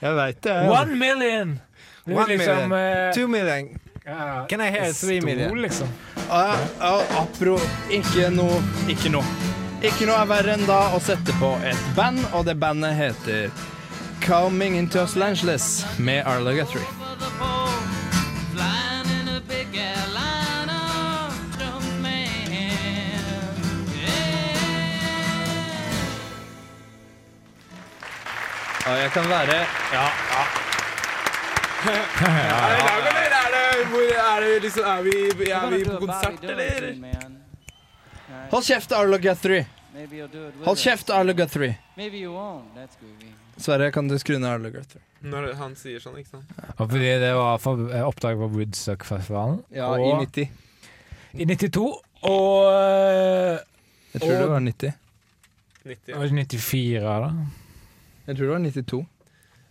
Jeg veit det. One million! Det er One liksom, million. eh, Two million. ja, Can I hear three stol, million? Liksom. Eh, apro, ikke noe Ikke noe. Ikke noe er verre enn da å sette på et band, og det bandet heter Coming Into Los Angeles med Arlo Guthrie. Over the pole, flying in a big airliner, jump man. Yeah. Ja, jeg kan være Er det lag, eller? Er det, hvor, er det liksom Er vi, er vi på konsert, eller? Hold kjeft, Arlo Guthrie! Maybe you'll do it with Hold us. kjeft, Arlo Guthrie! Maybe you won't. That's groovy. Sverre, kan du skru ned Arlo Guthrie? Når han sier sånn, ikke sant? Og fordi det var for, eh, oppdrag på Woodstock-festivalen. Ja, og, i 90. i 92. Og eh, Jeg tror Og- det var 90. 90. var det 94, da? Jeg tror det var 92.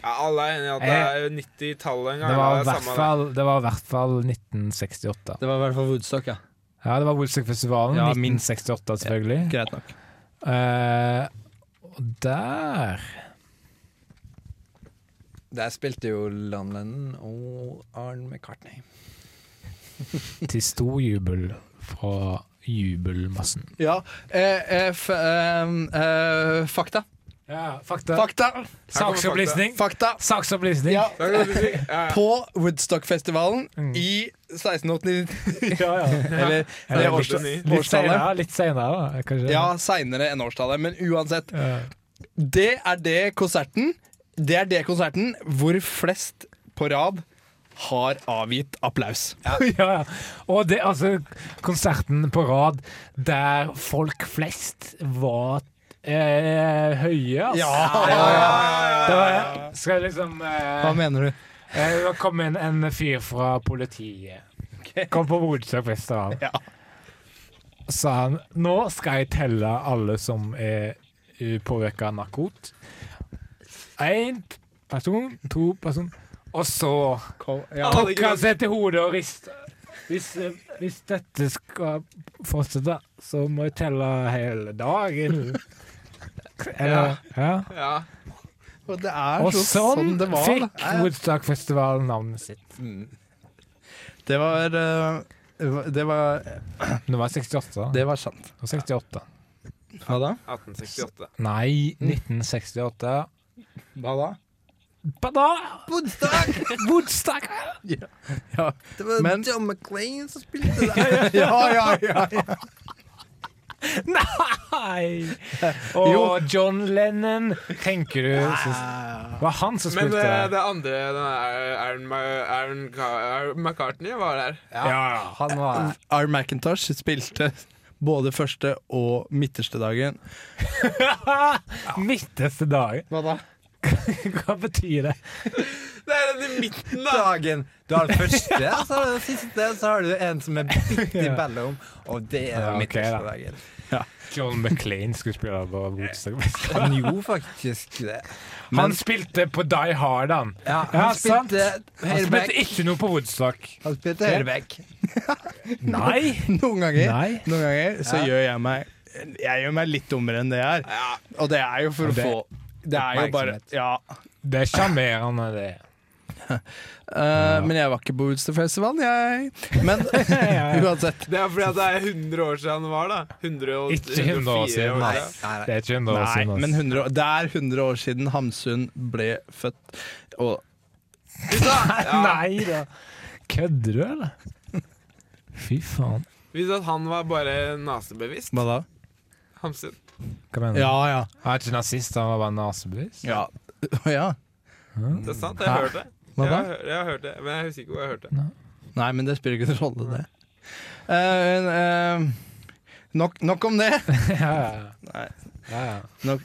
Ja, alle er enige i at det er 90-tallet en gang. Eh. Det var ja, i det er hvert samme fall, det var i hvert fall 1968. Det var i hvert fall Woodstock, ja. Ja, det var Woodstock-festivalen. Ja, minst. 1968, selvfølgelig. Greit nok. Eh, og der Der spilte jo Lon Lennon og Arne McCartney. til stor jubel fra jubelmassen. Ja, eh, eh, f eh, eh, fakta. Ja, fakta. Fakta! Saksopplysning. Fakta! Saksopplysning. Ja, Da kan du si, ja, ja. på Woodstock-festivalen Mm. i 1689 (laughs) ja, ja. Eller Eller det litt- årstallet. Litt årstallet. senere, litt senere da, kanskje. Ja, seinere enn årstallet. Men uansett. Ja. Det er det konserten Det er det konserten hvor flest på rad har avgitt applaus. (laughs) ja, ja. Og det, altså, konserten på rad der folk flest var eh, høye, altså. Det var, skal jeg liksom eh, Hva mener du? eh, Det kom inn en fyr fra politiet. Kom på Woodstock-festivalen. Ja. Sa han Nå skal jeg telle alle som er eh, påvirka av narkot. Én person, to person Og så Ja. tok han seg til hodet og rista. Hvis, eh, hvis dette skal fortsette, så må jeg telle hele dagen. Eller, ja. ja. Og det er Og så, sånn, sånn det var. fikk da. Ja, ja. Woodstock-festivalen navnet sitt. Det var eh, Det var Det var 68. da. Det var sant. Det var 68. Hva da? 1868. Nei, 1968. Hva da? Bada! Woodstock! (laughs) Woodstock! Det var Men- John McClain som spilte der. Ja, ja, ja. Nei! Og John Lennon, tenker du Det var han som Men spilte. det, det andre den er- Aaron, Ma- Aaron, Ka- Aaron McCartney var der. ja, han var R. McIntosh spilte både første og midterste dagen. Midteste dagen. Hva da? (laughs) Hva betyr det? Det er den i midten, da! Dagen. Du har den første, så har du den siste, så har du en som er bitte imellom, og det er Ja, den ok, midterste da. dagen. John McLean skulle spille på (laughs) Woodstock. Han gjorde faktisk det. Han spilte på Die Hard, han. Ja, han Ja, sant. spilte Han høyreback. spilte ikke noe på Woodstock. (laughs) Han spilte høyreback. Nei! Noen ganger, Nei. noen ganger så gjør jeg meg Jeg gjør meg litt dummere enn det jeg er. Ja. Og det er jo for å Det- få Det er jo bare Oppmerksomhet. Ja. Det er sjarmerende, det. Eh, Men jeg var ikke på Woodstock-festivalen, jeg. (laughs) Men uansett. Det er fordi at det er 100 år siden den var, da. 100 og, Ikke 100 år siden, ja. Nei, nei, nei. Det er ikke en Nei, men ass. 100, år- det er 100 år siden Hamsun ble født. Og Nei da. Kødder du, eller? Fy faen. Hvis at han var bare nasebevisst, hva da? Hamsun. Hva mener du? Ja, ja. Han er ikke nazist, han var bare (laughs) nasebevisst. Ja. Å, (laughs) ja. Det er sant, jeg har hørt det. Hva Jeg da? har, hø- jeg har hørt det, men jeg husker ikke hvor jeg hørte det. Nei, men det spiller ikke noen rolle, det. Eh, eh, nok, nok om det. Ja, ja. Nei. Ja, ja.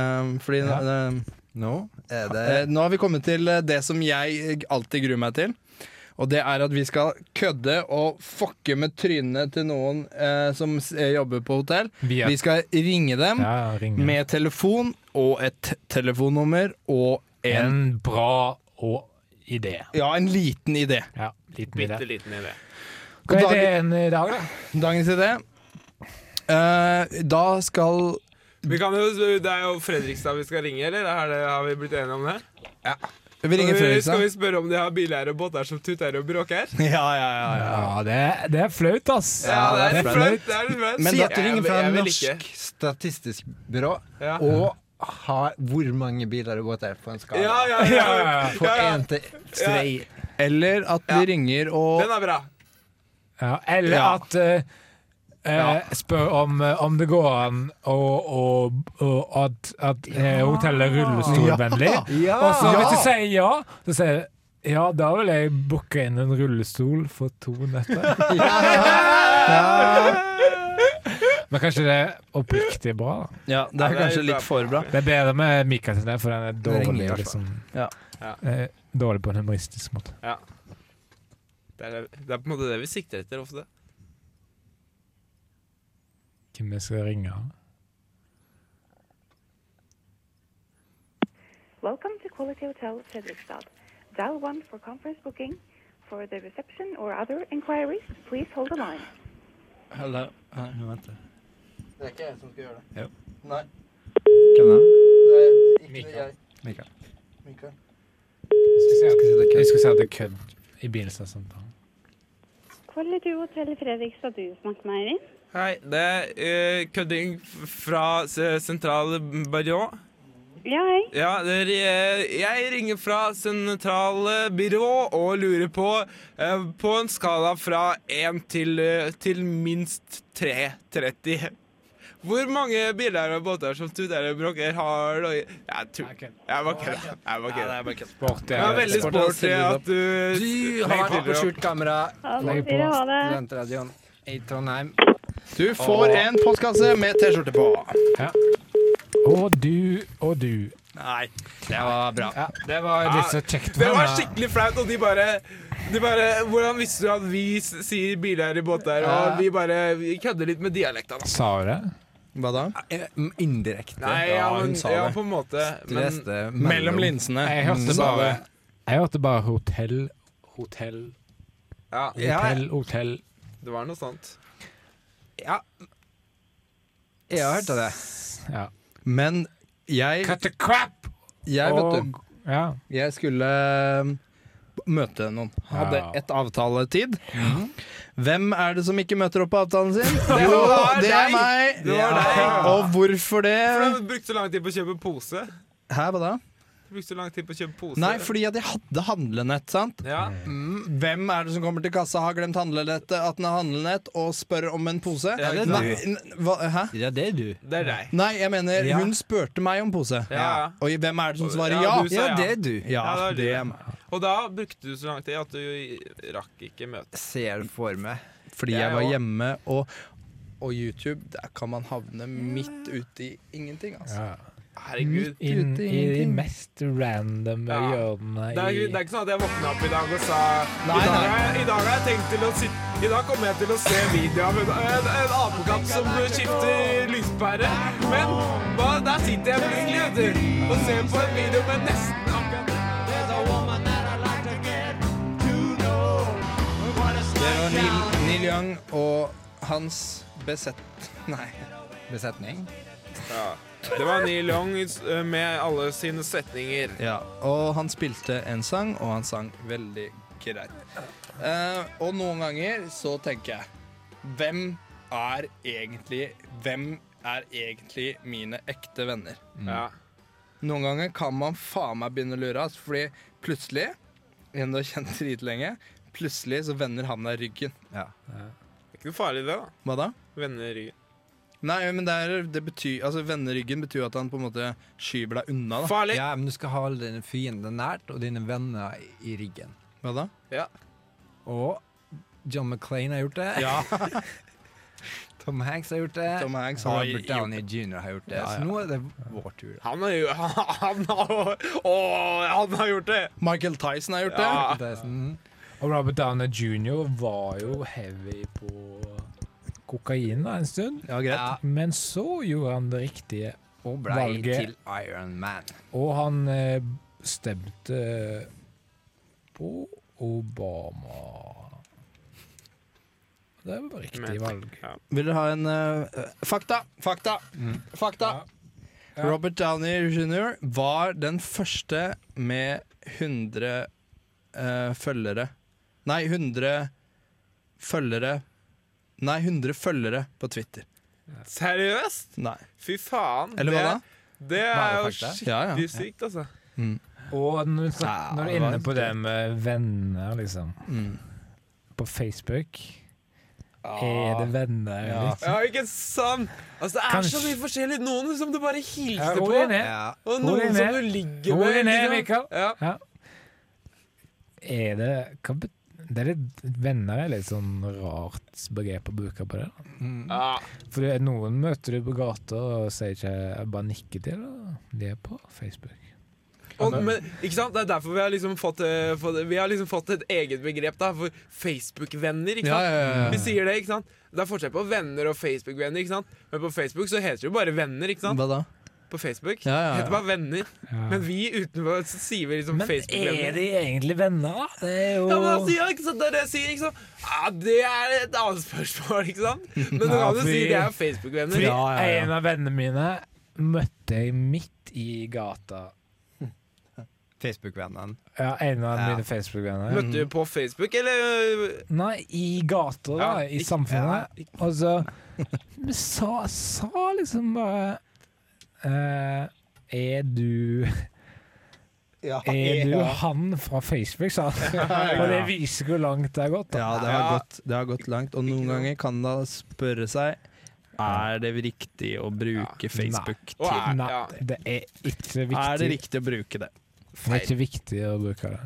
Eh, fordi Ja. eh, Nå er det Eh, Nå har vi kommet til eh, det som jeg alltid gruer meg til. Og det er at vi skal kødde og fucke med trynene til noen eh, som s- eh, jobber på hotell. Vi er- Vi skal ringe dem ja, ja, ring. med telefon og et telefonnummer og en, En bra og idé. ja, en liten idé. Ja, liten Bitte idé. liten idé. Hva God er dag. ideen i dag, da? Dagens idé. Eh, da skal Vi kan jo, det er jo Fredrikstad vi skal ringe, eller? Er det, har vi blitt enige om det? Vi ringer Skal vi- Skal vi Fredrikstad. spørre om de har bileiere og båter som tuter og bråker? Ja, ja, ja, ja. Ja, det, er- det er flaut, ass. Ja, det er litt flaut. flaut. Det er litt flaut. Men Si da- at du ringer fra Jeg vil ikke. Norsk Statistisk Byrå Ja. og har hvor mange biler og båter på en skala. Ja, ja, Ja, ja. ja, ja. På ja. én til tre. Eller at vi ringer og Den er bra. Ja, eller Ja. at eh, eh, Spør om, eh, om det går an og, og, og at, at eh, hotellet er rullestolvennlig. Ja. Og så Ja. hvis du sier ja, så sier du ja, da vil jeg booke inn en rullestol for to netter. Ja, ja, ja. Men Men kanskje det er oppriktig bra, da. Ja, det Ja, er det er kanskje bra. litt for bra. Det er bedre med Mikael sin der, for den er ringer i dårlig, hvert fall. liksom. Ja. Ja. Eh, Dårlig på en humoristisk måte. Det er, det er på en måte det vi sikter etter ofte. Hvem vi skal ringe? Welcome to Quality Hotel Fredrikstad. Dial 1 for conference booking. For the reception or other inquiries, please hold the line. Eller, nei, nå vent litt. Det er ikke jeg som skal gjøre det. Jo. Nei, Hvem da? det er ikke Mikael. jeg. Mikael. Mikael. Jeg skal si at det er sånn, kødd i begynnelsen av samtalen. Quality Hotel Fredrikstad, du snakker med Eirin. Hei, det er eh, kødding fra S- Sentral Byrå. Ja, hei. Ja, det er, eh, jeg ringer fra Sentral eh, Byrå og lurer på eh, På en skala fra 1 til, eh, til minst 3,30. Hvor mange biler og båter som studerer og bråker har du? Jeg tror Jeg bare kødder. Jeg bare kødder. Sport Det er veldig Sport er sporty at du Du legger har til på opp. skjult kamera. Ha Legg på. det. Ha det. Studentradioen i Trondheim. Du får en postkasse med T-skjorte på. Og du og du. Nei. Det var bra. Ja, det var litt så kjekt. Det var skikkelig flaut, og de bare, de bare Hvordan visste du at vi s- sier biler i båter? Og vi bare vi kødder litt med dialekta, da. Sa du det? Hva da? Eh, Indirekte. Nei, ja, hun men, sa ja, det. på en måte. Du Men leste Mellom linsene. Jeg hørte sa bare, det. jeg hørte bare hotell, hotell, ja, ja, hotell, hotell. det var noe sånt. Jeg har hørt av det. Ja. Men jeg, Cut the crap! jeg vet du, Og- Ja. jeg skulle um, møte noen. Hadde Ja. ett avtaletid. Hvem er det som ikke møter opp på avtalen (laughs) sin? Jo, var det deg! er meg! Det var Ja. deg. Og hvorfor For det? du brukte så lang tid på å kjøpe pose. Hæ, hva da? Du brukte så lang tid på å kjøpe pose. Nei, fordi at jeg hadde handlenett, sant? Mm. ja. Hvem er det som kommer til kassa, har glemt handlenettet, at den har handlenett, og spør om en pose? Ja, det er Nei, n- hva, hæ? Ja, det er du. Det er deg. Nei, jeg mener, Ja. hun spurte meg om pose. Ja. Og hvem er det som svarer ja? Ja, du sa Ja, ja. det er du. Ja, Ja, det det er er du. meg. Og da brukte du så lang tid at du rakk ikke møtet. Ser det for meg. Fordi Jeg jeg var også. hjemme, og, og YouTube, der kan man havne midt ute i ingenting, altså. ja. Herregud. Inn ute i i de ingenting. mest random Ja. hjørnene Det er, ikke- det er i ikke sånn at jeg våkna opp i dag og sa Nei, I dag nei. har jeg- I dag har jeg tenkt til å sitte I dag kommer jeg til å se video av en, en, en apekatt som skifter lyspære. Men hva, der sitter jeg plutselig vet du, og ser på en video med nesten akkurat Det var Neil, Neil Young og hans besett... (laughs) Nei. Besetning. Det var Neil Young eh, med alle sine setninger. Ja, og han spilte en sang, og han sang veldig greit. Eh, og noen ganger så tenker jeg Hvem er egentlig Hvem er egentlig mine ekte venner? Ja. Noen ganger kan man faen meg begynne å lure, ass, fordi plutselig En du har kjent dritlenge, plutselig så vender han deg ryggen. Det er ikke noe farlig, det, da. Hva da? Vender ryggen. Nei, men det, er, det betyr Altså, vende ryggen betyr jo at han på en måte skyver deg unna, da. Farlig! Ja, men du skal holde dine fiender nært og dine venner i- i ryggen. Hva da? Og John McClain har gjort det. (laughs) Tom Hanks har gjort det. Tom Hanks har Robert gjort- Downey jr. har gjort det. Så nå er det vår tur. Han har jo (laughs) Han har, å, han har gjort det! Michael Tyson har gjort det. Ja. Det er sånn, Og Robert Downer jr. var jo heavy på kokain da, en stund. Ja, greit. Ja. Men så gjorde han det riktige, og blei Valget. til Iron Man. og han eh, stemte på Obama. Det var riktig Men- valg. Vil dere ha en eh, Fakta! Fakta! Fakta! Ja. Robert Downey jr. var den første med 100 eh, følgere Nei, 100 følgere Nei, 100 følgere på Twitter. Seriøst? Nei. Fy faen. Eller hva da? Det, det er jo fakta? Ja, ja. skikkelig sykt, altså. Og når du, snak, Ja, når du det er var inne på en det med venner, liksom Mm. På Facebook er det venner, Ja. liksom. Ja, ikke sant? Altså, det er Kanskje- så mye forskjellig. Noen som du bare Ja, hilser ro på, deg ned. Ja. og Ro deg noen som ned. du ligger Ro med. deg ned, ikke sant? Mikael. Ja. Er det hva bet- Det er litt venner er litt sånn rart begrep å bruke på det. da. Ja, For det er noen møter du på gata og sier ikke bare nikker til. Da. De er på Facebook. Og, men, ikke sant? Det er derfor vi har liksom fått, eh, fått, vi har liksom fått et eget begrep da, for Facebook-venner. ikke Ja, sant? ja, ja, ja. Vi sier det, ikke sant? Det er forskjell på venner og Facebook-venner. ikke sant? Men på Facebook så heter det jo bare venner. ikke sant? Hva da? På Facebook Ja, ja, ja. heter det bare venner. Men vi utenfor så sier vi liksom Men er Facebook-venner. de egentlig venner, da? Det er jo Ja, men altså, ja, ikke sant? Det er det jeg sier, ikke sant? Ja, det er et annet spørsmål, ikke sant? Men nå Ja, kan du fordi- si de er Fordi Facebook-venner. Ja, ja, ja. en av vennene mine møtte jeg midt i gata. Facebook-vennene. Ja, en av Ja. mine Facebook-venner. Møtte du på Facebook, eller? Nei, i gata, da. Ja, I ikk- samfunnet. Og så vi sa, sa liksom bare eh, Er du Ja, Er du han fra Facebook, (laughs) sa han. Og det viser hvor langt det har gått. Da. Ja, det har, gått, det har gått langt. Og noen ganger kan da spørre seg Er det riktig å bruke Facebook Og til er- Nei, ja. det er ikke viktig. Er det riktig å bruke det? Det er ikke viktig å bruke det.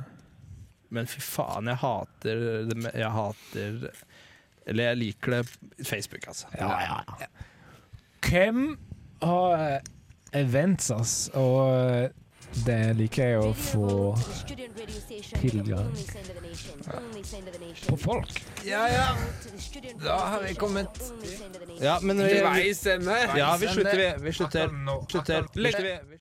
Men fy faen, jeg hater det med- Jeg hater Eller jeg liker det Facebook, altså. Hvem har eh, events, ass? Og eh, det liker jeg å få tilgang på folk. Ja, ja. Da har vi kommet Ja, men vi, Til veis ende. ja, vi slutter, vi. vi slutter. Akkurat nå- slutter. Legg-